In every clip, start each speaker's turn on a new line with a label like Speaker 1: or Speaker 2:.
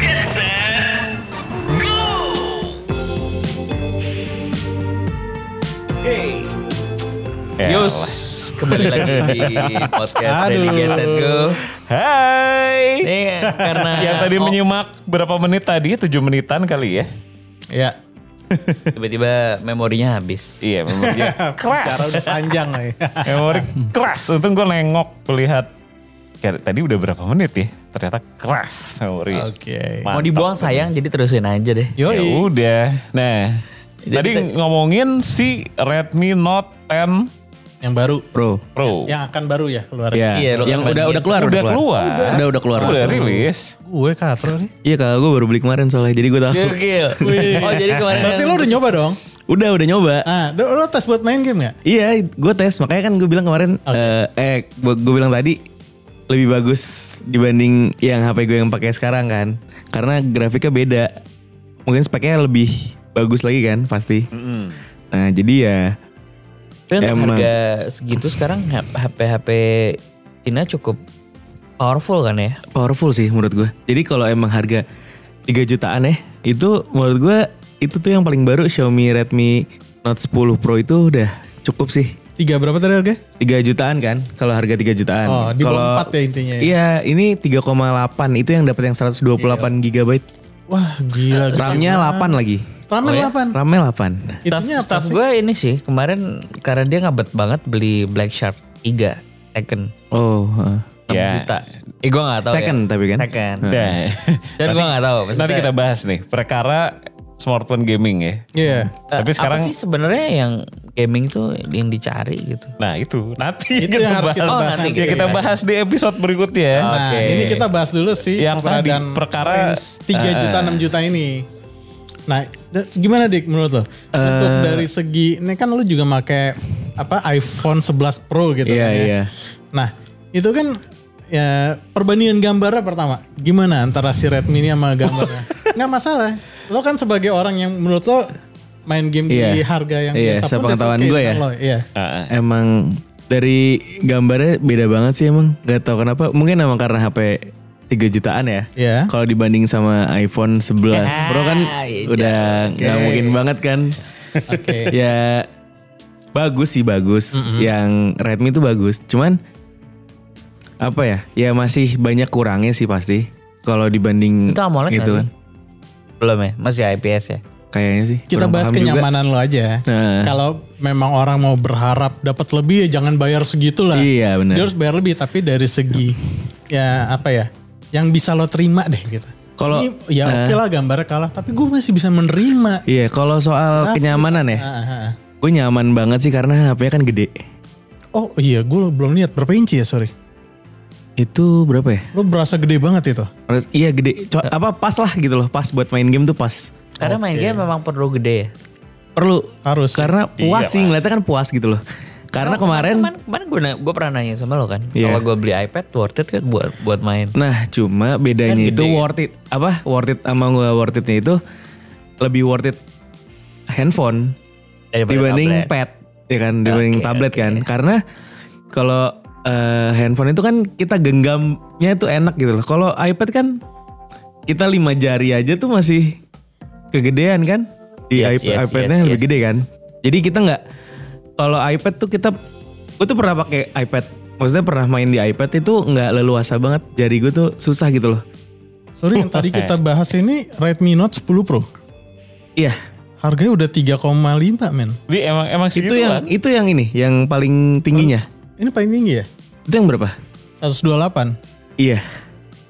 Speaker 1: Get set, go! Hey, Yus, kembali lagi di podcast
Speaker 2: Aduh.
Speaker 1: Ready Get Set Go.
Speaker 3: Hai.
Speaker 1: Ini karena
Speaker 3: Yang tadi
Speaker 1: Iya. oh,
Speaker 3: menyimak berapa menit tadi? 7 menitan kali ya?
Speaker 2: Ya.
Speaker 1: tiba-tiba memorinya habis.
Speaker 3: Iya, memori
Speaker 2: Cara
Speaker 3: keras.
Speaker 2: udah panjang eh. nih.
Speaker 3: Memori keras. Untung gue nengok lihat Ya, tadi udah berapa menit ya? Ternyata keras memori.
Speaker 2: Oke.
Speaker 1: Mau dibuang sayang, jadi terusin aja deh.
Speaker 3: Ya
Speaker 2: Yoi.
Speaker 3: udah. Nah,
Speaker 1: Jadi
Speaker 3: tadi
Speaker 1: kita-
Speaker 3: ngomongin si Redmi Note 10
Speaker 2: Yang baru.
Speaker 4: Pro.
Speaker 3: Pro.
Speaker 2: Yang akan baru ya keluar.
Speaker 4: Iya,
Speaker 1: Iya, lo
Speaker 4: yang
Speaker 1: kapan
Speaker 4: udah
Speaker 1: dia
Speaker 4: udah keluar,
Speaker 3: udah keluar.
Speaker 4: Udah udah keluar.
Speaker 3: Udah rilis.
Speaker 2: Gue katro nih.
Speaker 4: Iya, kakak gue baru beli kemarin soalnya. Jadi gue tahu.
Speaker 3: Iya.
Speaker 1: Gokil. Oh jadi kemarin
Speaker 2: Berarti
Speaker 1: yang-
Speaker 2: lo udah nyoba dong?
Speaker 4: Udah, udah nyoba.
Speaker 2: Ah, do- lo tes buat main game ya?
Speaker 4: Iya, gue tes. Makanya kan gue bilang kemarin eh gue bilang tadi lebih bagus dibanding yang HP gue yang pakai sekarang kan. Karena grafiknya beda. Mungkin speknya lebih bagus lagi kan pasti. Nah, jadi ya
Speaker 1: Tapi untuk
Speaker 4: Emang.
Speaker 1: harga segitu sekarang HP-HP Cina cukup powerful kan ya?
Speaker 4: powerful sih menurut gue. Jadi kalau emang harga 3 jutaan ya, itu menurut gue itu tuh yang paling baru Xiaomi Redmi Note 10 Pro itu udah cukup sih.
Speaker 2: Tiga berapa tadi harga?
Speaker 4: 3 jutaan kan kalau harga 3 jutaan.
Speaker 2: Oh, di
Speaker 4: kalau
Speaker 2: bawah 4 ya intinya ya?
Speaker 4: Iya, ini 3,8 itu yang dapat yang
Speaker 2: Iya.
Speaker 4: 128 GB.
Speaker 2: Wah gila. Oh, ya.
Speaker 4: RAM-nya 8 lagi.
Speaker 2: Ramen 8.
Speaker 4: RAM-nya 8.
Speaker 1: Staff,
Speaker 2: Itunya apa
Speaker 1: staff
Speaker 2: sih?
Speaker 1: gue ini sih kemarin karena dia ngebet banget beli Black Shark 3 second 6
Speaker 4: Oh, heeh.
Speaker 3: Ya.
Speaker 1: juta. Eh gue gak tahu
Speaker 4: Second
Speaker 1: ya.
Speaker 4: tapi kan?
Speaker 1: Second.
Speaker 3: Nah,
Speaker 1: Dan gue gak tahu. Maksudnya,
Speaker 3: nanti kita bahas nih perkara smartphone gaming ya.
Speaker 2: Iya.
Speaker 1: eh,
Speaker 3: Tapi sekarang
Speaker 1: apa sih sebenarnya yang gaming tuh yang dicari gitu?
Speaker 3: Nah itu nanti
Speaker 2: Itu yang harus kita
Speaker 1: Oh,
Speaker 2: bahas
Speaker 1: nanti
Speaker 2: nanti.
Speaker 3: ya kita bahas di episode berikutnya. ya.
Speaker 2: Nah, ini kita bahas dulu sih
Speaker 3: Yang tadi
Speaker 2: perbedaan
Speaker 3: perkara- Eh.
Speaker 2: range 3 juta 6 juta ini. Nah, da- gimana Dik menurut lo?
Speaker 4: Eh.
Speaker 2: Untuk dari segi ini kan lu juga make apa iPhone 11 Pro gitu
Speaker 4: Iya,
Speaker 2: kan ya.
Speaker 4: iya.
Speaker 2: Nah, itu kan ya perbandingan gambarnya pertama. Gimana antara si Redmi ini sama gambarnya? Nggak masalah. Lo kan sebagai orang yang menurut lo main game di
Speaker 4: Iya.
Speaker 2: harga yang biasa
Speaker 4: Iya,
Speaker 2: pun
Speaker 4: sepengetahuan
Speaker 2: it's
Speaker 4: gue ya.
Speaker 2: tentang lo. Iya.
Speaker 4: Emang dari gambarnya beda banget sih emang. Gak tau kenapa. Mungkin emang karena HP 3 jutaan ya.
Speaker 2: Iya.
Speaker 4: Kalau dibanding sama iPhone 11 Pro kan
Speaker 1: Ah, iya.
Speaker 4: udah nggak mungkin banget kan.
Speaker 2: Oke.
Speaker 4: ya bagus sih bagus. Yang Redmi itu bagus. Cuman apa ya? Ya masih banyak kurangnya sih pasti. Kalau dibanding
Speaker 1: Itu AMOLED
Speaker 4: gitu
Speaker 1: nggak
Speaker 4: kan.
Speaker 1: sih? Belum ya? Masih IPS ya?
Speaker 4: Kayaknya sih.
Speaker 2: Kita
Speaker 4: kurang
Speaker 2: bahas
Speaker 4: paham juga.
Speaker 2: kenyamanan lo aja.
Speaker 4: Nah.
Speaker 2: Kalau memang orang mau berharap dapat lebih ya jangan bayar segitu lah.
Speaker 4: Iya, benar.
Speaker 2: Dia harus bayar lebih tapi dari segi ya apa ya? Yang bisa lo terima deh gitu.
Speaker 4: Kalau-
Speaker 2: Ini, ya
Speaker 4: eh.
Speaker 2: oke lah gambarnya kalah tapi gue masih bisa menerima.
Speaker 4: Iya, kalau soal kenyamanan ya,
Speaker 2: Ah, ah, ah.
Speaker 4: gue nyaman banget sih karena HP-nya kan gede.
Speaker 2: Oh iya, gue belum lihat berapa inci ya sorry.
Speaker 4: Itu berapa ya?
Speaker 2: Lo berasa gede banget itu.
Speaker 4: Harus- Iya gede, Co- apa pas lah gitu loh, pas buat main game tuh pas.
Speaker 1: Karena main game memang perlu gede ya?
Speaker 4: Perlu
Speaker 2: Harus.
Speaker 4: karena
Speaker 1: Iya,
Speaker 4: puas sih ngeliatnya kan puas gitu loh. Karena kemarin,
Speaker 1: Kemarin, kemarin gue, na- gue pernah nanya sama lo kan.
Speaker 4: Iya.
Speaker 1: Kalau gue beli iPad worth it kan buat, buat main.
Speaker 4: nah cuma
Speaker 1: Kan
Speaker 4: bedanya itu worth it apa worth it sama nggak worth itnya itu lebih worth it handphone
Speaker 1: Daripada
Speaker 4: dibanding
Speaker 1: tablet.
Speaker 4: pad ya kan dibanding
Speaker 1: Oke,
Speaker 4: tablet
Speaker 1: oke.
Speaker 4: kan karena kalau eh, handphone itu kan kita genggamnya itu enak gitu loh. Kalau iPad kan kita lima jari aja tuh masih kegedean kan di
Speaker 1: Yes,
Speaker 4: iP-
Speaker 1: yes,
Speaker 4: iPadnya
Speaker 1: yes,
Speaker 4: lebih
Speaker 1: yes,
Speaker 4: gede
Speaker 1: yes.
Speaker 4: kan. Jadi kita nggak kalau iPad tuh kita gue tuh pernah pakai iPad. Maksudnya pernah main di iPad itu nggak leluasa banget. Jari gue tuh susah gitu loh.
Speaker 2: Sorry
Speaker 4: Oh,
Speaker 2: yang tadi kita bahas ini Redmi Note 10 Pro.
Speaker 4: Iya.
Speaker 2: Harganya udah 3,5 men.
Speaker 3: Jadi emang emang
Speaker 4: Itu
Speaker 3: segitu kan?
Speaker 4: yang itu yang ini yang paling tingginya.
Speaker 2: Ini paling tinggi ya?
Speaker 4: Itu yang berapa?
Speaker 2: 128.
Speaker 4: Iya.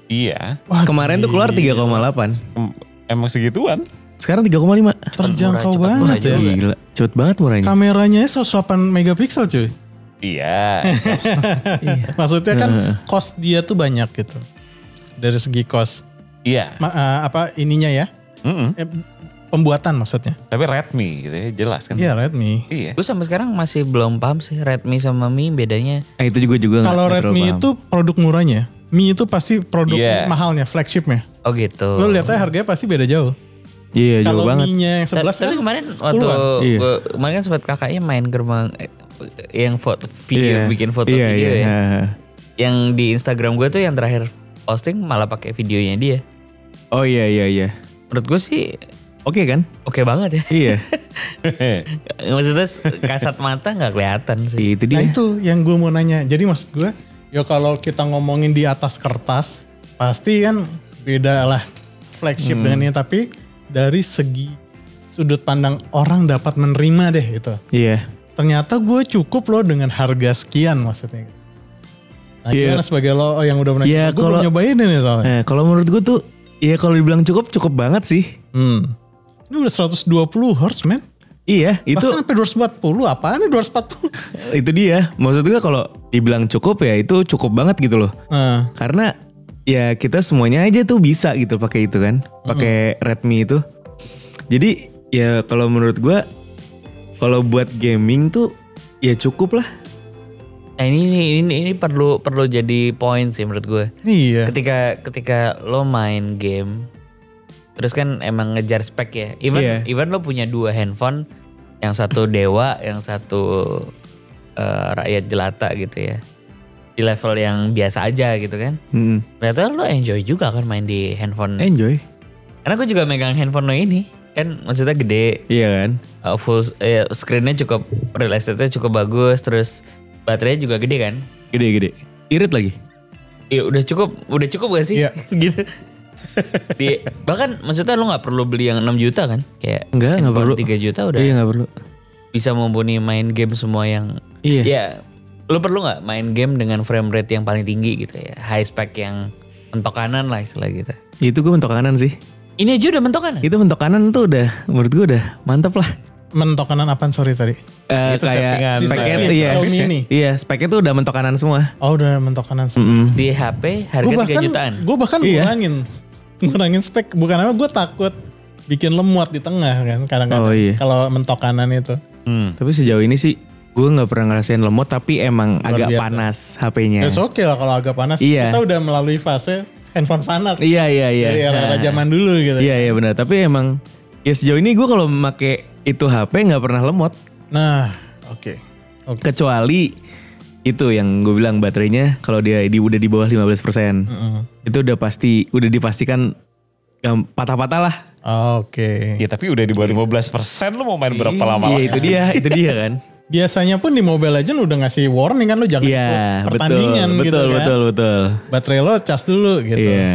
Speaker 3: Iya.
Speaker 2: Wah,
Speaker 4: Kemarin tuh keluar 3,8.
Speaker 3: Em- Emang segituan.
Speaker 4: Sekarang 3,5.
Speaker 1: murah, cepet
Speaker 2: terjangkau banget ya.
Speaker 1: murah
Speaker 4: Iya, Gila, cepet banget murahnya.
Speaker 2: Kameranya 108 megapiksel cuy.
Speaker 3: Iya.
Speaker 2: Maksudnya kan cost dia tuh banyak gitu. Dari segi cost.
Speaker 3: iya.
Speaker 2: Ma- eh, apa ininya ya?
Speaker 3: Mm-mm.
Speaker 2: Eh, pembuatan maksudnya.
Speaker 3: Tapi Redmi gitu ya jelas kan.
Speaker 2: Iya Redmi.
Speaker 3: Iya.
Speaker 1: Gue sampai sekarang masih belum paham sih Redmi sama Mi bedanya.
Speaker 4: Nah, itu juga juga nggak-
Speaker 2: Kalau
Speaker 4: nggak terlalu
Speaker 2: Redmi
Speaker 4: paham.
Speaker 2: itu produk murahnya. Mi itu pasti produk
Speaker 3: Iya.
Speaker 2: mahalnya, flagshipnya.
Speaker 1: Oh gitu.
Speaker 2: Lo lihatnya harganya pasti beda jauh.
Speaker 4: iya jauh
Speaker 2: Kalau
Speaker 4: banget.
Speaker 2: Mi-nya yang 11
Speaker 1: Ta- Tapi
Speaker 2: kan
Speaker 1: kemarin
Speaker 2: 10-an.
Speaker 1: waktu
Speaker 4: Iya.
Speaker 1: gua, kemarin kan sempat kakaknya main gerbang eh, yang foto video
Speaker 4: Iya.
Speaker 1: bikin foto
Speaker 4: Iya,
Speaker 1: video
Speaker 4: iya,
Speaker 1: ya.
Speaker 4: iya.
Speaker 1: Yang di Instagram gue tuh yang terakhir posting malah pakai videonya dia.
Speaker 4: Oh iya iya iya.
Speaker 1: Menurut gue sih
Speaker 4: Oke kan?
Speaker 1: oke banget ya.
Speaker 4: Iya.
Speaker 1: Maksudnya kasat mata nggak kelihatan sih.
Speaker 4: Iya, itu
Speaker 2: Nah
Speaker 4: dia.
Speaker 2: itu yang gue mau nanya. Jadi maksud gue, ya kalau kita ngomongin di atas kertas, pasti kan beda lah
Speaker 4: Hmm.
Speaker 2: flagship dengan ini. Tapi dari segi sudut pandang orang dapat menerima deh itu.
Speaker 4: Iya.
Speaker 2: Ternyata gue cukup loh dengan harga sekian maksudnya. Nah
Speaker 4: Iya.
Speaker 2: gimana sebagai lo yang udah pernah
Speaker 4: Iya,
Speaker 2: gue belum
Speaker 4: kalau-
Speaker 2: nyobain ini soalnya.
Speaker 4: Nah, kalau menurut gue tuh ya kalau dibilang cukup cukup banget sih.
Speaker 2: Hmm. Ini udah 120 hertz men.
Speaker 4: Iya, itu
Speaker 2: Bahkan sampai 240 apaan nih 240?
Speaker 4: itu dia. Maksud gue kalau dibilang cukup ya itu cukup banget gitu loh.
Speaker 2: Nah,
Speaker 4: Karena ya kita semuanya aja tuh bisa gitu pakai itu kan, pakai Redmi itu. Jadi ya kalau menurut gua kalau buat gaming tuh ya cukup lah.
Speaker 1: Nah ini ini ini, ini perlu perlu jadi poin sih menurut gue.
Speaker 2: iya.
Speaker 1: Ketika ketika lo main game, terus kan emang ngejar spek ya. Even
Speaker 4: Iya.
Speaker 1: even lo punya dua handphone, yang satu dewa, yang satu eh, rakyat jelata gitu ya. Di level yang biasa aja gitu kan.
Speaker 4: Mm-mm.
Speaker 1: Ternyata lo enjoy juga kan main di handphone.
Speaker 4: Enjoy.
Speaker 1: Karena gue juga megang handphone lo ini kan maksudnya gede,
Speaker 4: Iya kan?
Speaker 1: uh, full eh, screennya cukup real estate-nya cukup bagus terus baterainya juga gede kan
Speaker 4: Gede-gede. Irit lagi.
Speaker 1: ya udah cukup udah cukup gak sih
Speaker 2: Iya.
Speaker 1: gitu Di- bahkan maksudnya lu nggak perlu beli yang 6 juta kan kayak
Speaker 4: Enggak, enggak perlu.
Speaker 1: handphone 3 juta udah
Speaker 4: Iya nggak perlu.
Speaker 1: bisa mumpuni main game semua yang
Speaker 4: Iya.
Speaker 1: ya lu perlu nggak main game dengan frame rate yang paling tinggi gitu ya high spec yang mentok kanan lah istilah gitu
Speaker 4: Itu gue mentok kanan sih.
Speaker 1: ini aja udah mentok kanan
Speaker 4: Itu mentok kanan tuh udah menurut gue udah mantep lah.
Speaker 2: Mentok kanan apaan sorry tadi?
Speaker 4: Eh,
Speaker 3: Itu settingan.
Speaker 4: kayak speknya
Speaker 2: Settingan.
Speaker 4: iya,
Speaker 2: Xiaomi ini.
Speaker 4: iya speknya tuh udah mentok kanan semua.
Speaker 2: Oh udah mentok kanan.
Speaker 4: Mm-mm.
Speaker 1: di HP harga
Speaker 2: gue
Speaker 1: 3
Speaker 2: bahkan
Speaker 1: jutaan
Speaker 2: gue bahkan
Speaker 4: Iya.
Speaker 2: ngurangin ngurangin spek bukan apa gue takut bikin lemuat di tengah kan kadang-kadang
Speaker 4: Oh, iya.
Speaker 2: kalau mentok kanan itu
Speaker 3: Hmm.
Speaker 4: Tapi sejauh ini sih gue nggak pernah ngerasain lemot tapi emang agak
Speaker 2: biasa.
Speaker 4: panas HP-nya.
Speaker 2: it's okay lah kalau agak panas
Speaker 4: Iya.
Speaker 2: kita udah melalui fase handphone panas
Speaker 4: Iya iya iya.
Speaker 2: dari era-era
Speaker 4: Nah,
Speaker 2: zaman dulu gitu
Speaker 4: Iya iya benar. Tapi emang ya sejauh ini gue kalau make itu HP nggak pernah lemot
Speaker 2: nah oke oke
Speaker 4: kecuali itu yang gue bilang baterainya kalau dia di udah di bawah 15%
Speaker 2: Mm-mm.
Speaker 4: itu udah pasti udah dipastikan gam- patah-patah lah.
Speaker 2: oke
Speaker 3: Ya tapi udah di bawah 15 persen lu mau main berapa lama
Speaker 4: Iya
Speaker 3: lagi?
Speaker 4: itu dia itu dia kan.
Speaker 2: biasanya pun di Mobile Legends udah ngasih warning kan lo jangan
Speaker 4: Iya
Speaker 2: ikut
Speaker 4: betul
Speaker 2: pertandingan
Speaker 4: betul
Speaker 2: gitu kan
Speaker 4: betul betul.
Speaker 2: baterai lo cas dulu gitu
Speaker 4: Iya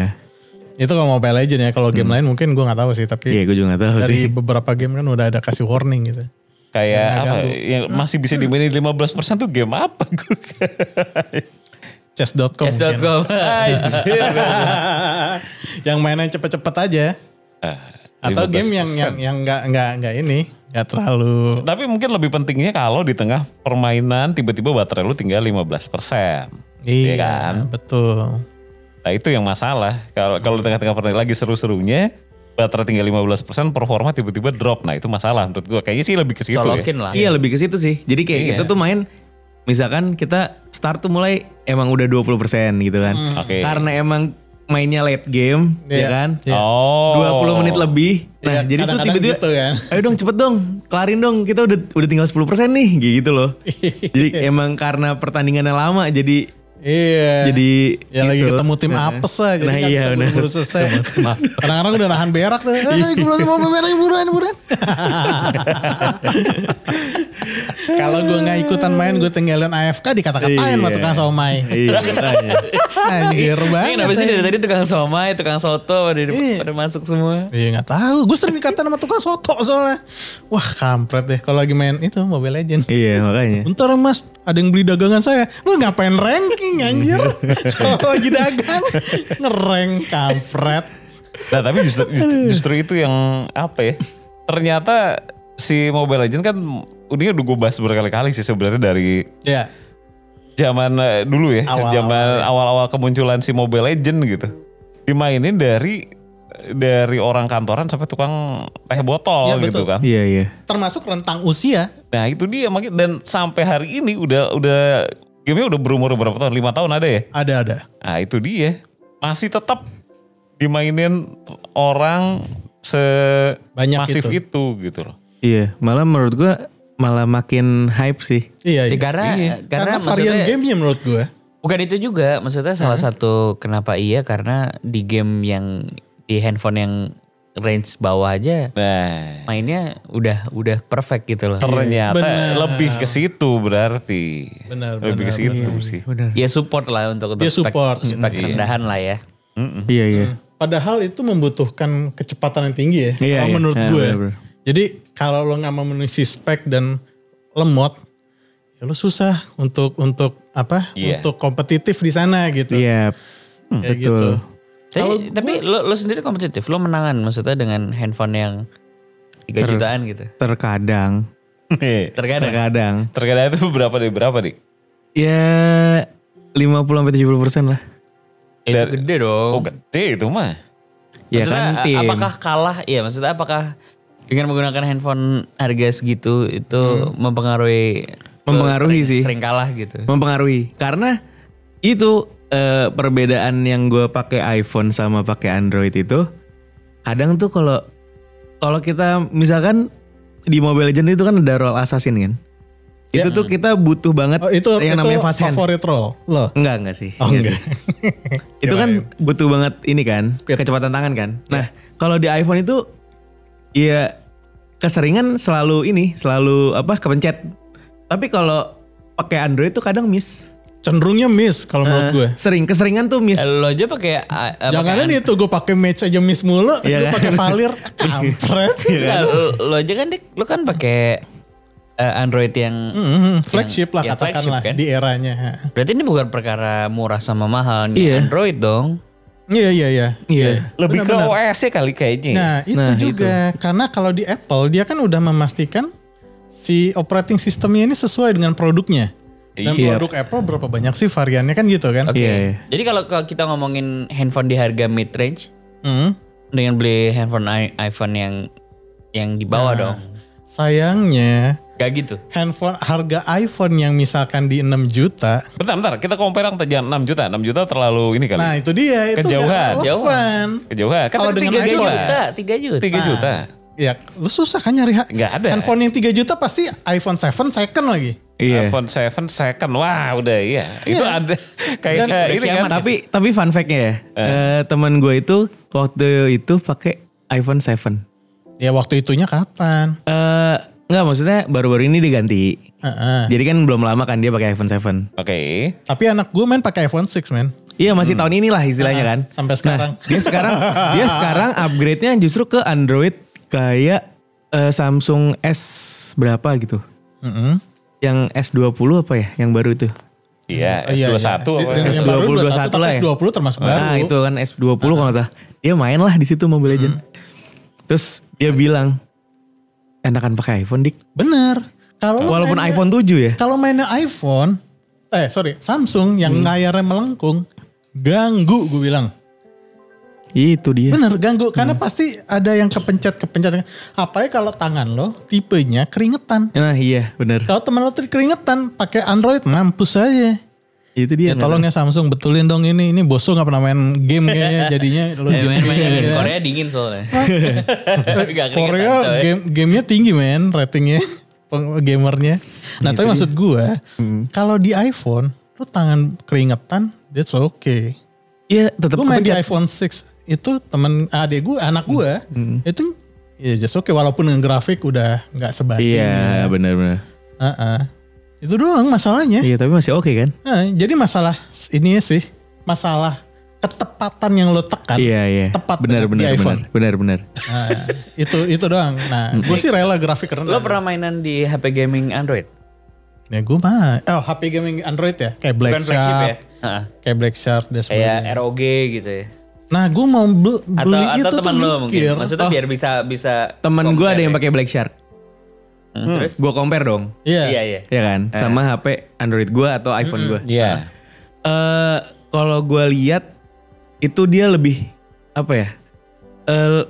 Speaker 4: Hmm.
Speaker 2: itu kalau Mobile Legends ya kalau game lain mungkin gue nggak tahu sih
Speaker 4: iya
Speaker 2: tapi
Speaker 4: gue juga nggak tahu sih.
Speaker 2: dari beberapa game kan udah ada kasih warning gitu
Speaker 3: Kayak apa? Yang masih bisa dimainin 15 persen tuh game apa? Gua-
Speaker 4: Iya.
Speaker 2: chess.com mungkin. Iya,
Speaker 1: Chess.com
Speaker 2: yang mainan cepet-cepet aja
Speaker 3: ah,
Speaker 2: atau game yang yang yang nggak nggak nggak ini nggak terlalu
Speaker 3: Tapi mungkin lebih pentingnya kalau di tengah permainan tiba-tiba baterai lu tinggal 15 persen.
Speaker 2: iya
Speaker 4: kan?
Speaker 2: betul
Speaker 3: Nah itu yang masalah. Kalau kalau di tengah-tengah pertandingan lagi seru-serunya, baterai tinggal 15 persen, performa tiba-tiba drop. Nah itu masalah menurut gua. Kayaknya sih lebih ke situ ya.
Speaker 1: colokin lah
Speaker 4: Iya lebih ke situ sih. Jadi kayak
Speaker 3: Iya.
Speaker 4: kita tuh main misalkan kita start tuh mulai emang udah 20% gitu kan.
Speaker 3: Oke.
Speaker 4: Karena emang mainnya late game ya
Speaker 2: Hmm. Iya.
Speaker 4: kan.
Speaker 2: Iya.
Speaker 3: Oh.
Speaker 4: 20 menit lebih. Nah,
Speaker 2: Iya,
Speaker 4: jadi tuh
Speaker 2: kadang-kadang
Speaker 4: tiba-tiba
Speaker 2: gitu kan.
Speaker 4: ayo dong cepet dong, kelarin dong. Kita udah udah tinggal 10% nih gitu loh. jadi emang karena pertandingannya lama jadi
Speaker 2: iya
Speaker 4: jadi
Speaker 2: ya lagi
Speaker 4: gitu.
Speaker 2: ketemu tim apes lah jadi
Speaker 4: Nah,
Speaker 2: nggak
Speaker 4: iya,
Speaker 2: bisa
Speaker 4: benar.
Speaker 2: buru-buru selesai kadang-kadang udah nahan berak tuh eh gue belum mau berak buruan buruan kalau gue nggak ikutan main gue tinggalin AFK dikata-katain
Speaker 4: Iya.
Speaker 2: sama tukang somai
Speaker 4: Iya, makanya.
Speaker 2: anjir
Speaker 1: Ini
Speaker 2: banget
Speaker 1: kenapa sih
Speaker 2: eh.
Speaker 1: dari tadi tukang somai, tukang soto pada,
Speaker 2: Iya.
Speaker 1: pada masuk semua.
Speaker 2: Iya nggak tahu, gue sering dikatain sama tukang soto soalnya. Wah kampret deh kalau lagi main itu Mobile Legend.
Speaker 4: Iya, makanya.
Speaker 2: Bentar mas, ada yang beli dagangan saya. Lu ngapain ranking anjir? kalau lagi dagang ngereng kampret.
Speaker 3: Nah tapi justru, justru, justru itu yang apa ya? Ternyata si Mobile Legends kan ini udah gue bahas berkali-kali sih sebenarnya dari
Speaker 2: Ya,
Speaker 3: zaman eh, dulu ya,
Speaker 2: Awal-awal
Speaker 3: zaman awal-awel kemunculan si Mobile Legends gitu. Dimainin dari dari orang kantoran sampai tukang teh botol
Speaker 2: Iya,
Speaker 3: gitu
Speaker 2: betul.
Speaker 3: kan.
Speaker 4: Iya, iya.
Speaker 2: termasuk rentang usia.
Speaker 3: Nah itu dia makanya dan sampai hari ini udah udah gamenya udah berumur berapa tahun? Lima tahun ada ya?
Speaker 2: Ada ada.
Speaker 3: Nah itu dia masih tetap dimainin orang se
Speaker 2: Banyak
Speaker 3: masif
Speaker 2: itu.
Speaker 3: itu. gitu loh.
Speaker 4: Iya, malah menurut gua malah makin hype sih.
Speaker 2: Iya.
Speaker 1: Ya,
Speaker 2: iya.
Speaker 1: karena,
Speaker 3: Iya.
Speaker 1: karena
Speaker 2: Karena, varian
Speaker 1: maksudnya
Speaker 2: gamenya menurut gue.
Speaker 1: Bukan itu juga, maksudnya salah satu kenapa iya karena di game yang di handphone yang range bawah aja
Speaker 3: Nah,
Speaker 1: mainnya udah udah perfect gitu loh.
Speaker 3: ternyata
Speaker 2: Iya, Benar.
Speaker 3: lebih ke situ berarti.
Speaker 2: Benar,
Speaker 3: Lebih ke
Speaker 2: benar,
Speaker 3: situ sih.
Speaker 1: Ya support lah untuk untuk
Speaker 2: Dia
Speaker 1: spek-
Speaker 2: Hmm. support,
Speaker 1: spek rendahan lah ya.
Speaker 4: Iya iya.
Speaker 2: Padahal itu membutuhkan kecepatan yang tinggi ya.
Speaker 4: Iya,
Speaker 2: kalau
Speaker 4: iya.
Speaker 2: menurut
Speaker 4: Iya,
Speaker 2: gue.
Speaker 4: bener-bener.
Speaker 2: Jadi kalau lo nggak memenuhi spek dan lemot, ya lo susah untuk untuk apa?
Speaker 3: Iya.
Speaker 2: Untuk kompetitif di sana gitu.
Speaker 4: Iya.
Speaker 2: Kayak
Speaker 4: betul.
Speaker 2: gitu. Kalau
Speaker 1: Tapi, tapi lo, lo sendiri kompetitif, lo menangan maksudnya dengan handphone yang 3 jutaan gitu.
Speaker 4: Terkadang.
Speaker 1: Terkadang.
Speaker 4: Terkadang.
Speaker 3: Terkadang itu berapa nih? Berapa nih?
Speaker 4: Ya 50 sampai 70 persen lah.
Speaker 1: Ya, Itu gede dong.
Speaker 3: Oh gede itu mah.
Speaker 4: Ya
Speaker 1: Maksudnya,
Speaker 4: kan
Speaker 1: a-
Speaker 4: tim.
Speaker 1: apakah kalah? Iya, maksudnya apakah dengan menggunakan handphone harga segitu itu mempengaruhi lo
Speaker 4: Hmm.
Speaker 1: sering-
Speaker 4: Mempengaruhi sih.
Speaker 1: Sering kalah gitu.
Speaker 4: Mempengaruhi karena itu eh, perbedaan yang gue pakai iPhone sama pakai Android itu kadang tuh kalau kalau kita misalkan di Mobile Legends itu kan ada role assassin kan. Itu tuh kita butuh banget
Speaker 2: Oh, itu
Speaker 4: yang
Speaker 2: itu
Speaker 4: namanya fast hand.
Speaker 2: favorit role lo.
Speaker 4: Enggak enggak sih.
Speaker 2: Oh, enggak.
Speaker 4: enggak sih. itu
Speaker 1: Iya,
Speaker 4: kan butuh banget ini kan kecepatan tangan kan.
Speaker 2: Ya.
Speaker 4: Nah kalau di iPhone itu ya keseringan selalu ini selalu apa kepencet. Tapi kalau pakai Android tuh kadang miss.
Speaker 2: Cenderungnya miss kalau menurut gue.
Speaker 4: Sering keseringan tuh miss.
Speaker 1: Eh, Lo aja pakai a- eh, pakai
Speaker 2: Jangan kan
Speaker 1: an-
Speaker 2: itu gue pakai match aja miss mulu, gue
Speaker 4: Iya kan? Iya,
Speaker 2: pakai valir, kampret.
Speaker 1: Enggak, lo, lo aja kan dik, lo kan pakai eh, Android yang
Speaker 2: Mm, flagship lah
Speaker 1: yang flagship
Speaker 2: katakanlah
Speaker 1: kan?
Speaker 2: di eranya.
Speaker 1: berarti ini bukan perkara murah sama mahal nih
Speaker 4: Iya.
Speaker 1: Android dong.
Speaker 2: Iya iya iya.
Speaker 4: Iya.
Speaker 3: Lebih ke OS ya kali kayaknya. ya.
Speaker 1: Iya.
Speaker 2: Nah itu
Speaker 4: Nah,
Speaker 2: juga karena kalau di Apple dia kan udah memastikan si operating sistemnya ini sesuai dengan produknya. Dan
Speaker 4: Iya.
Speaker 2: produk Apple berapa banyak sih variannya kan gitu kan?
Speaker 1: Oke.
Speaker 4: Iya, iya.
Speaker 1: Jadi kalau kalau kita ngomongin handphone di harga mid range
Speaker 2: Hmm.
Speaker 1: dengan beli handphone i- iPhone yang yang di
Speaker 4: Nah.
Speaker 1: bawah dong.
Speaker 2: Sayangnya
Speaker 1: Gak gitu.
Speaker 2: handphone harga iPhone yang misalkan di 6 juta,
Speaker 3: Bentar, bentar. Kita compare yang tadi 6 juta. 6 juta terlalu ini kali.
Speaker 2: nah itu dia itu nggak
Speaker 3: Kejauhan.
Speaker 2: relevan.
Speaker 3: Kejauhan. Kan
Speaker 2: Kalau
Speaker 3: tadi
Speaker 2: dengan
Speaker 1: 3
Speaker 2: iPhone.
Speaker 1: juta, 3 juta.
Speaker 3: 3 juta.
Speaker 2: Ya lu susah kan nyari ha-
Speaker 3: Nggak ada.
Speaker 2: handphone yang 3 juta pasti iPhone 7 second lagi.
Speaker 4: Iya.
Speaker 3: iPhone 7 second. Wah, udah iya. Itu ada kayak
Speaker 2: Dan
Speaker 3: kayak
Speaker 2: udah
Speaker 3: ini kan.
Speaker 1: kiamat.
Speaker 4: Eh, Tapi tapi fun fact-nya ya, eh, teman gue itu waktu itu pakai iPhone 7.
Speaker 2: Ya waktu itunya kapan?
Speaker 4: Eh enggak maksudnya baru-baru ini diganti.
Speaker 2: Heeh.
Speaker 4: Jadi kan belum lama kan dia pakai iPhone 7.
Speaker 3: Oke.
Speaker 2: Tapi anak gue main pakai iPhone 6 men.
Speaker 4: Iya masih tahun inilah istilahnya kan.
Speaker 2: Sampai sekarang.
Speaker 4: Dia sekarang dia sekarang upgrade-nya justru ke Android kayak eh, Samsung S berapa gitu.
Speaker 2: Heeh.
Speaker 4: Yang S20 apa ya yang baru itu?
Speaker 3: Iya,
Speaker 4: Eh,
Speaker 2: Iya,
Speaker 3: S21
Speaker 2: iya.
Speaker 3: apa?
Speaker 2: Dan yang
Speaker 4: S20,
Speaker 2: baru 21,
Speaker 4: 21 lah
Speaker 2: tapi
Speaker 4: ya.
Speaker 2: S20 termasuk baru.
Speaker 4: Nah, itu kan S20 kalau nggak salah. Dia main lah di situ Mobile Legends. Terus dia bilang enakan pakai iPhone dik.
Speaker 2: Bener. Kalau lu
Speaker 4: Walaupun
Speaker 2: mainnya-
Speaker 4: iPhone 7 ya.
Speaker 2: Kalau mainnya iPhone, eh sorry, Samsung yang
Speaker 4: Hmm.
Speaker 2: layarnya melengkung, ganggu gue bilang.
Speaker 4: Itu dia.
Speaker 2: Bener, ganggu.
Speaker 4: Hmm.
Speaker 2: Karena pasti ada yang kepencet-kepencet. Apalagi kalau tangan lo tipenya keringetan.
Speaker 4: Nah iya bener.
Speaker 2: Kalau teman lo tuh keringetan, pakai Android, mampus aja.
Speaker 4: Itu
Speaker 2: Ya
Speaker 4: dia.
Speaker 2: tolong ya Samsung, betulin dong ini. Ini bosu gak pernah main game kayaknya jadinya. Lo
Speaker 1: Eh, main, main, main.
Speaker 2: gitu.
Speaker 1: Korea dingin soalnya. Gak keringetan,
Speaker 2: Korea
Speaker 1: coy.
Speaker 2: game gamenya tinggi men ratingnya peng- gamernya. Nah tapi maksud gue
Speaker 4: Hmm.
Speaker 2: kalau di iPhone lu tangan keringetan that's okay.
Speaker 4: Iya tetap
Speaker 2: Gue main di iPhone 6 itu temen adik gue
Speaker 4: Hmm.
Speaker 2: anak gue itu ya just okay walaupun dengan grafik udah nggak sebanding.
Speaker 4: Iya benar-benar.
Speaker 2: Ya. Heeh. Itu doang masalahnya.
Speaker 4: Iya tapi masih oke kan?
Speaker 2: Nah, jadi masalah ini sih masalah ketepatan yang lo tekan
Speaker 4: Iya iya.
Speaker 2: tepat
Speaker 4: benar
Speaker 2: dengan
Speaker 4: benar
Speaker 2: di iPhone.
Speaker 4: benar benar benar.
Speaker 2: Nah, itu itu doang. Nah, gue sih rela grafik rendah.
Speaker 1: Lo pernah mainan di HP gaming Android?
Speaker 2: Ya gue mah, oh HP gaming Android ya, kayak Black
Speaker 1: Bukan flagship
Speaker 2: Shark,
Speaker 1: ya? Heeh.
Speaker 2: kayak Black Shark dan
Speaker 1: Kayak
Speaker 2: sebagainya.
Speaker 1: ROG gitu ya.
Speaker 2: Nah gue mau bel-
Speaker 1: Atau,
Speaker 2: beli
Speaker 1: atau
Speaker 2: itu tuh
Speaker 1: teman lo mungkin.
Speaker 2: mikir,
Speaker 1: Maksudnya biar bisa bisa
Speaker 4: Temen gue ada yang
Speaker 1: compare
Speaker 4: pakai Black Shark.
Speaker 1: ya. Hmm, Terus?
Speaker 4: Gue compare dong.
Speaker 2: iya,
Speaker 1: Iya, iya.
Speaker 4: Ya kan? Sama HP Android gue atau iPhone gue.
Speaker 3: Iya.
Speaker 4: Eh kalau gue lihat itu dia lebih apa ya? Eh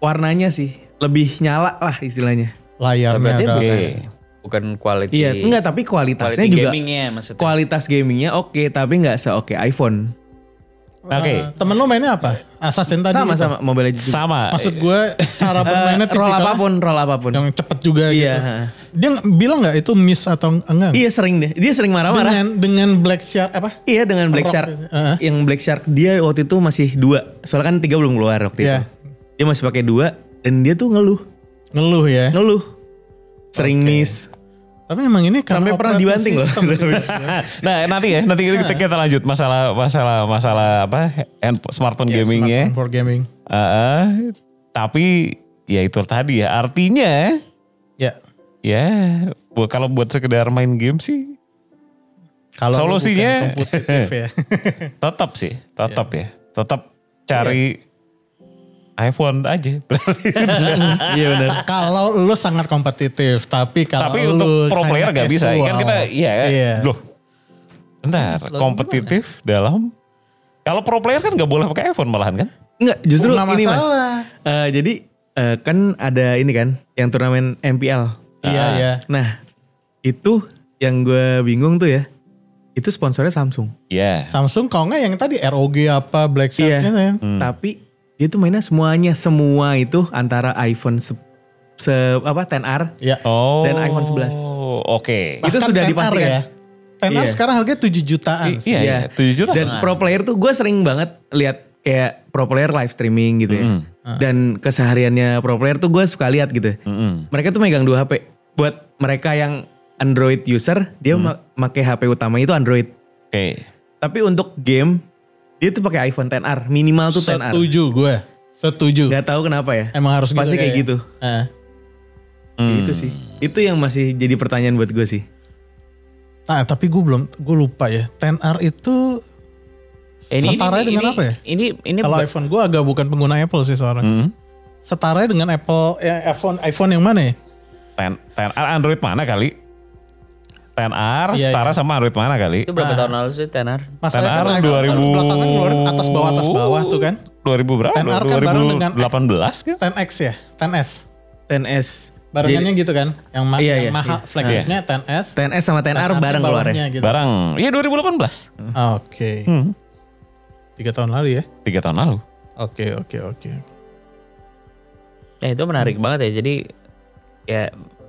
Speaker 4: warnanya sih lebih nyala lah istilahnya.
Speaker 2: layarnya
Speaker 1: Berarti
Speaker 2: Iya, ada.
Speaker 1: bukan, bukan quality.
Speaker 4: Iya, enggak tapi kualitasnya
Speaker 1: quality
Speaker 4: juga
Speaker 1: gamingnya maksudnya.
Speaker 4: kualitas gamingnya oke tapi nggak seoke iPhone.
Speaker 3: Oke.
Speaker 2: Ah, Temen lu mainnya apa? Assassin tadi.
Speaker 4: sama
Speaker 2: itu.
Speaker 4: sama Mobile Legends. juga.
Speaker 3: Sama.
Speaker 2: Maksud gue cara bermainnya
Speaker 4: Eh, roll
Speaker 2: tipikal
Speaker 4: apapun, roll apapun.
Speaker 2: yang cepet juga
Speaker 4: Iya.
Speaker 2: gitu. Dia nggak- bilang nggak itu miss atau enggak?
Speaker 4: Iya sering deh. Dia sering marah-marah.
Speaker 2: Dengan dengan Black Shark apa?
Speaker 4: Iya dengan Black
Speaker 2: Rock
Speaker 4: Shark.
Speaker 2: itu. Heeh.
Speaker 4: Yang Black Shark dia waktu itu masih dua. Soalnya kan tiga belum keluar waktu
Speaker 2: Iya.
Speaker 4: itu. Dia masih pakai dua dan dia tuh ngeluh,
Speaker 2: Ngeluh ya.
Speaker 4: ngeluh. Sering miss.
Speaker 2: Tapi emang ini karena
Speaker 4: Sampai pernah
Speaker 2: operating
Speaker 4: dibanting loh.
Speaker 2: system sih. Iya,
Speaker 3: nah nanti ya nanti kita, kita lanjut masalah masalah masalah apa handphone, smartphone gaming ya.
Speaker 2: Iya, Smartphone For gaming.
Speaker 3: Heeh. tapi ya itu tadi ya artinya
Speaker 2: Ya.
Speaker 3: ya bu- kalau buat sekedar main game sih
Speaker 2: Kalau lu
Speaker 3: Solusinya-
Speaker 2: bukan kompetitif ya.
Speaker 3: tetap sih tetap ya
Speaker 2: Iya.
Speaker 3: tetap cari iPhone aja
Speaker 4: Iya benar.
Speaker 2: kalau lu sangat kompetitif, tapi kalau
Speaker 3: tapi
Speaker 2: lu
Speaker 3: untuk pro
Speaker 2: hanya
Speaker 3: player nggak bisa
Speaker 2: casual,
Speaker 3: kan kita iya
Speaker 2: Iya.
Speaker 3: loh bentar kompetitif dalam kalau pro player kan nggak boleh pakai iPhone malahan kan
Speaker 4: Enggak, justru
Speaker 2: Bukan
Speaker 4: ini Mas.
Speaker 2: masalah.
Speaker 4: Eh, jadi eh, kan ada ini kan yang turnamen MPL.
Speaker 2: Iya,
Speaker 3: Ah.
Speaker 2: iya.
Speaker 4: Nah, itu yang gue bingung tuh ya. Itu sponsornya Samsung.
Speaker 3: iya
Speaker 2: Samsung kalau nggak yang tadi ROG apa Black Shark
Speaker 4: Iya.
Speaker 2: gitu ya.
Speaker 4: Tapi dia tuh mainnya semuanya semua itu antara iPhone se, se- apa 10R
Speaker 2: Iya.
Speaker 3: oh
Speaker 4: Dan iPhone 11.
Speaker 3: oke
Speaker 4: Itu sudah
Speaker 2: 10R
Speaker 4: dipastikan.
Speaker 2: ya. Tenar
Speaker 4: Iya.
Speaker 2: sekarang harganya 7 jutaan.
Speaker 3: I- iya iya tujuh juta
Speaker 4: Dan
Speaker 2: Nah.
Speaker 4: pro player tuh gue sering banget lihat kayak pro player live streaming gitu ya. Dan kesehariannya pro player tuh gue suka lihat gitu.
Speaker 3: Mm-mm.
Speaker 4: Mereka tuh megang dua HP. Buat mereka yang Android user, dia ma- pakai HP utama itu Android.
Speaker 3: oke
Speaker 4: Tapi untuk game, dia tuh pakai iPhone 10R minimal tuh 10R.
Speaker 2: Setuju gue. Setuju.
Speaker 4: Gak tahu kenapa ya. Hmm.
Speaker 2: Emang harus
Speaker 4: pasti kayak
Speaker 2: kayaknya.
Speaker 4: gitu.
Speaker 2: Eh.
Speaker 4: Itu sih. Itu yang masih jadi pertanyaan buat gue sih.
Speaker 2: Nah, tapi gue belum gue lupa ya. 10R itu
Speaker 3: Eh,
Speaker 2: setara dengan apa ya?
Speaker 1: Eh, Ini ini
Speaker 2: Kalau iPhone gue agak bukan pengguna Apple sih seorang. Setara dengan Apple ya, iPhone iPhone yang mana ya?
Speaker 3: ten ten R Android mana kali ten R
Speaker 2: Iya,
Speaker 3: setara sama Android mana kali
Speaker 1: itu
Speaker 2: Nah.
Speaker 1: berapa tahun lalu sih tenar?
Speaker 2: Masalahnya kan
Speaker 3: 10R
Speaker 2: iPhone
Speaker 3: 2000.
Speaker 2: kan belakangan ngeluarin atas bawah atas bawah tuh kan.
Speaker 3: 2000 berapa
Speaker 2: 10R kan
Speaker 3: 2018
Speaker 2: bareng
Speaker 3: kan
Speaker 2: 10X ya, 10S.
Speaker 4: 10S.
Speaker 2: Barengannya gitu kan, yang, ma- yang
Speaker 4: Iya, iya,
Speaker 2: mahal flagshipnya 10S.
Speaker 4: 10S sama 10R
Speaker 2: bawahnya
Speaker 4: bareng keluarnya.
Speaker 2: Gitu.
Speaker 3: barang iya 2018
Speaker 2: Ah, Oke. Tiga tahun lalu ya.
Speaker 3: tiga tahun lalu
Speaker 2: Oke oke oke.
Speaker 1: Nah itu menarik
Speaker 2: Hmm.
Speaker 1: banget ya. Jadi ya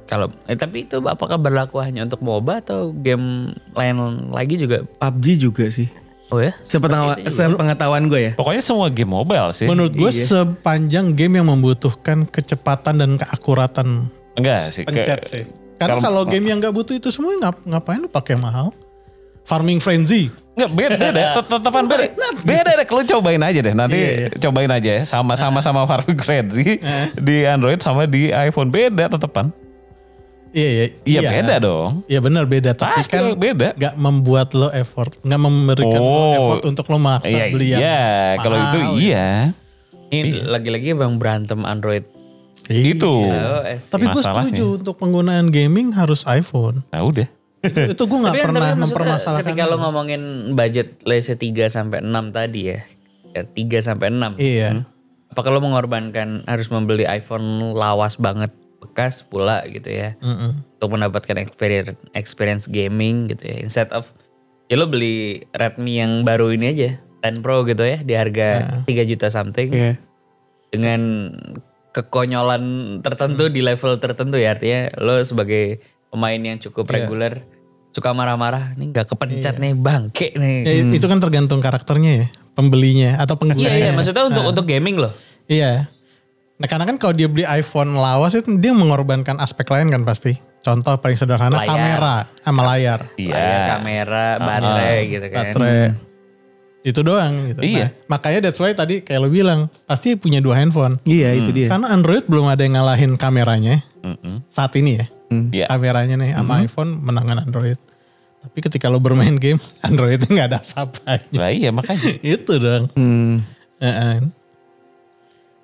Speaker 1: kalau eh, tapi itu apakah berlaku hanya untuk MOBA atau game lain lagi juga?
Speaker 4: PUBG juga sih.
Speaker 1: Oh ya?
Speaker 4: Sepengetahuan, sepengetahuan gue ya.
Speaker 3: pokoknya semua game mobile sih
Speaker 2: Menurut gue sepanjang game yang membutuhkan kecepatan dan keakuratan
Speaker 3: enggak sih ke-
Speaker 2: pencet sih. Karena kalau game yang nggak butuh itu semua ngap- ngapain lu pakai yang mahal? Farming Frenzy.
Speaker 3: Enggak beda, beda, Tet- tetapan beda. Beda deh, lu cobain aja deh. Nanti
Speaker 4: Iya,
Speaker 3: cobain aja ya. Sama
Speaker 4: Nah.
Speaker 3: sama sama Farming Frenzy di Android sama di iPhone beda tetapan.
Speaker 2: Iya iya.
Speaker 3: Iya beda dong.
Speaker 2: Iya benar beda tapi
Speaker 3: Pasti
Speaker 2: kan
Speaker 3: beda.
Speaker 2: nggak membuat lo effort, nggak memberikan lo
Speaker 3: Oh.
Speaker 2: effort untuk lo maksa
Speaker 3: Iya,
Speaker 2: beli yang
Speaker 3: iya, kalau itu
Speaker 2: mahal, ya.
Speaker 3: iya.
Speaker 1: Ini lagi-lagi bang berantem Android. Oh,
Speaker 4: Iya.
Speaker 1: eh.
Speaker 3: Itu.
Speaker 1: iOS.
Speaker 2: Iya. Tapi gue
Speaker 3: gitu. Masalahnya.
Speaker 2: setuju untuk penggunaan gaming harus iPhone.
Speaker 3: Nah, udah.
Speaker 2: Itu, itu gue nggak
Speaker 1: Tapi-
Speaker 2: pernah
Speaker 1: tapi maksudnya
Speaker 2: mempermasalahkan.
Speaker 1: Ketika lo ngomongin budget let's say 3 sampai 6 tadi ya. ya 3 sampai 6.
Speaker 3: Hmm.
Speaker 2: Iya.
Speaker 1: Apakah lo mengorbankan harus membeli iPhone lawas banget bekas pula gitu ya. Untuk mendapatkan experience experience gaming gitu ya. Instead of ya lo beli Redmi yang baru ini aja 10 Pro gitu ya di harga 3 juta something dengan kekonyolan tertentu di level tertentu ya artinya lo sebagai pemain yang cukup reguler suka marah-marah ini nggak kepencet nih bangke nih
Speaker 2: Ya,
Speaker 3: Hmm.
Speaker 2: i- Itu kan tergantung karakternya ya, pembelinya atau penggunanya.
Speaker 1: iya iya maksudnya untuk untuk gaming loh
Speaker 2: Iya. Nah karena kan kalau dia beli iPhone lawas itu dia mengorbankan aspek lain kan pasti. Contoh paling sederhana
Speaker 1: Layar.
Speaker 2: kamera sama layar.
Speaker 1: Layar
Speaker 3: Iya.
Speaker 1: kamera baterai gitu kan
Speaker 2: Baterai. Itu doang gitu.
Speaker 3: Iya.
Speaker 2: Nah, makanya that's why tadi kayak lo bilang pasti punya dua handphone.
Speaker 4: Iya itu dia.
Speaker 2: Karena Android belum ada yang ngalahin kameranya saat ini ya.
Speaker 3: Iya.
Speaker 2: Kameranya nih sama iPhone menangan Android. Tapi ketika lo bermain game Android nggak ada apa-apanya.
Speaker 3: Lah iya makanya.
Speaker 2: Itu dong.
Speaker 4: Hmm.
Speaker 2: Heeh.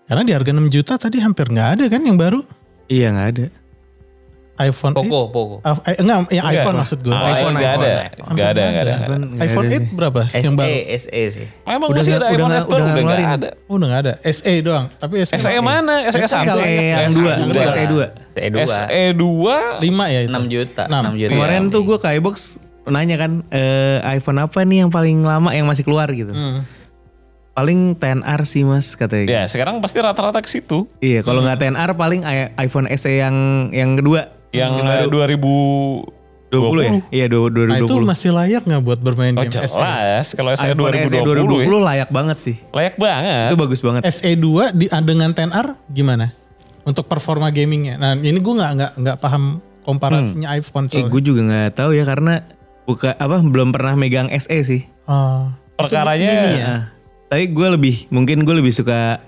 Speaker 2: Karena di harga 6 juta tadi hampir nggak ada kan yang baru.
Speaker 4: Iya nggak ada.
Speaker 2: iPhone
Speaker 1: Poco Poco
Speaker 2: 8. Ah, eh, enggak, ya iPhone maksud gue.
Speaker 3: Ah, iPhone enggak ada. Enggak ada, enggak ada.
Speaker 4: iPhone,
Speaker 2: iPhone 8 berapa yang
Speaker 1: SE
Speaker 2: baru?
Speaker 1: SE E, sih
Speaker 3: Emang masih ada
Speaker 4: Udah nggak- udah
Speaker 3: iPhone baru
Speaker 4: nggak- udah
Speaker 3: udah nggak
Speaker 4: ngeluarin. ya?
Speaker 3: ada.
Speaker 2: Oh, udah nggak ada. SE doang. Tapi SE,
Speaker 3: SE mana? SE
Speaker 4: SE
Speaker 2: kan
Speaker 3: satu.
Speaker 4: yang dua, SE dua. Iya.
Speaker 1: SE 2
Speaker 3: SE 2
Speaker 2: 5 ya itu.
Speaker 1: 6 E juta
Speaker 2: Enam.
Speaker 1: 6 juta
Speaker 4: Kemarin tuh gue ke iBox nanya kan eh, iPhone apa nih yang paling lama yang masih keluar gitu. paling 10R sih mas katanya.
Speaker 3: Ya sekarang pasti rata-rata ke situ.
Speaker 4: Iya, kalau nggak 10R paling i- iPhone SE yang yang kedua.
Speaker 3: Yang
Speaker 4: ya?
Speaker 3: eh, 2020
Speaker 4: 20, ya? Iya, du-
Speaker 2: Nah, itu
Speaker 4: 2020.
Speaker 2: masih layak nggak buat bermain
Speaker 3: Oh
Speaker 2: game SE?
Speaker 3: jelas, kalau E saya
Speaker 4: ya? iPhone E
Speaker 3: 2020,
Speaker 4: SE 2020 layak banget sih.
Speaker 3: ya, layak banget.
Speaker 4: Itu bagus banget.
Speaker 2: Eh, SE2 di dengan 10R gimana? Untuk performa gamingnya. Nah ini gue nggak nggak nggak paham komparasinya iPhone
Speaker 4: Eh,
Speaker 2: soalnya.
Speaker 4: gue juga nggak tahu ya karena buka apa belum pernah megang SE sih.
Speaker 2: Oh.
Speaker 3: Perkaranya
Speaker 2: Iya. ya.
Speaker 4: Nah, tapi gue lebih mungkin gue lebih suka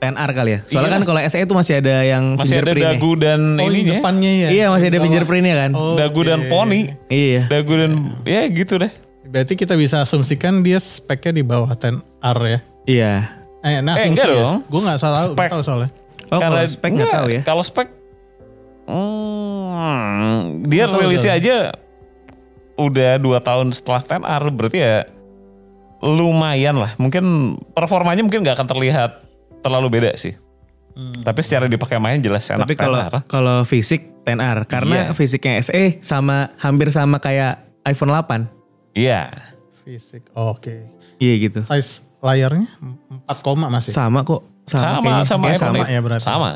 Speaker 4: 10R kali ya. Soalnya kan kalau SE itu masih ada yang
Speaker 3: masih ada
Speaker 4: fingerprint-nya.
Speaker 3: dagu dan
Speaker 2: Oh, yang
Speaker 3: ininya,
Speaker 2: depannya ya.
Speaker 4: Iya, masih ada fingerprintnya kan.
Speaker 3: dagu dan poni,
Speaker 4: Iya.
Speaker 3: dagu dan ya gitu deh.
Speaker 2: Berarti kita bisa asumsikan dia speknya di bawah 10R ya.
Speaker 4: Iya.
Speaker 2: Eh,
Speaker 3: Eh,
Speaker 2: nah, asumsi
Speaker 3: enggak
Speaker 2: ya.
Speaker 3: dong.
Speaker 2: Gue nggak salah, nggak
Speaker 3: Spek.
Speaker 2: tahu soalnya.
Speaker 4: Oh, kalau spek nggak tahu ya.
Speaker 3: Kalau spek, hmm, dia
Speaker 2: Nggak tahu
Speaker 3: rilisnya aja udah dua tahun setelah 10R berarti ya lumayan lah. Mungkin performanya mungkin nggak akan terlihat terlalu beda sih.
Speaker 4: Hmm.
Speaker 3: Tapi secara dipakai main jelas enak. kan,
Speaker 4: Tapi kalau
Speaker 3: 10R.
Speaker 4: kalau fisik 10R karena
Speaker 3: Iya.
Speaker 4: fisiknya SE sama hampir sama kayak iPhone 8.
Speaker 3: iya.
Speaker 2: Fisik. Oke.
Speaker 4: Iya gitu.
Speaker 2: Size layarnya 4 koma masih.
Speaker 4: Sama kok.
Speaker 3: Sama
Speaker 4: kayaknya.
Speaker 3: sama iPhone
Speaker 2: Kayaknya sama
Speaker 3: X.
Speaker 2: ya berarti.
Speaker 3: Sama.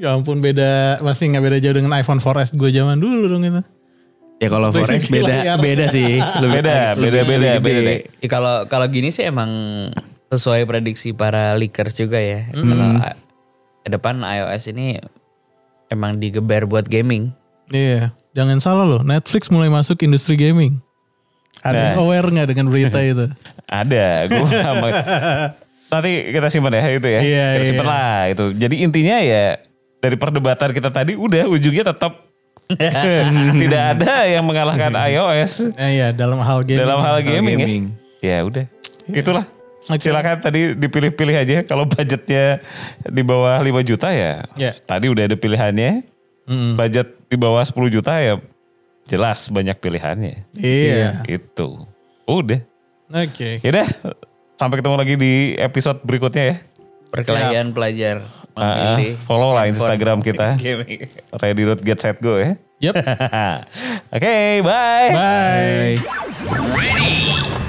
Speaker 2: Ya ampun beda, masih nggak beda jauh dengan iPhone 4S gue zaman dulu dong itu.
Speaker 4: Ya kalau
Speaker 2: Untuk
Speaker 4: Forex
Speaker 2: fisik
Speaker 4: beda
Speaker 2: layar.
Speaker 4: beda sih. Lebih
Speaker 3: ya. Beda,
Speaker 4: lebih-
Speaker 3: beda, beda,
Speaker 4: lebih
Speaker 3: beda
Speaker 4: gede.
Speaker 3: deh.
Speaker 1: Ya, kalau kalau gini sih emang sesuai prediksi para leakers juga ya. Kalau a- ke depan iOS ini emang digeber buat gaming.
Speaker 2: Iya, jangan salah loh, Netflix mulai masuk industri gaming. Ada yang
Speaker 3: Eh.
Speaker 2: aware nggak dengan berita itu?
Speaker 3: Ada, gue sama. Nanti kita simpan ya itu ya.
Speaker 2: Iya,
Speaker 3: kita simpan
Speaker 2: iya.
Speaker 3: lah itu. Jadi intinya ya dari perdebatan kita tadi udah ujungnya tetap tidak ada yang mengalahkan iOS
Speaker 2: Eh, iya, dalam hal gaming. Iya.
Speaker 3: dalam hal gaming,
Speaker 4: gaming.
Speaker 3: ya. Ya udah. Itulah.
Speaker 2: Oke.
Speaker 3: Silakan tadi dipilih-pilih aja kalau budgetnya di bawah 5 juta ya.
Speaker 2: Iya.
Speaker 3: Tadi udah ada pilihannya. Budget di bawah 10 juta ya jelas banyak pilihannya.
Speaker 2: Iya.
Speaker 3: Gitu. Udah.
Speaker 2: Oke.
Speaker 3: Yaudah, Ya sampai ketemu lagi di episode berikutnya ya.
Speaker 1: Perkelahian pelajar
Speaker 3: Ah,
Speaker 1: memilih
Speaker 3: follow lah Instagram kita.
Speaker 1: gaming.
Speaker 3: Ready.getsetgo ya.
Speaker 2: Yep.
Speaker 3: Oke, bye.
Speaker 2: Bye.
Speaker 4: Bye.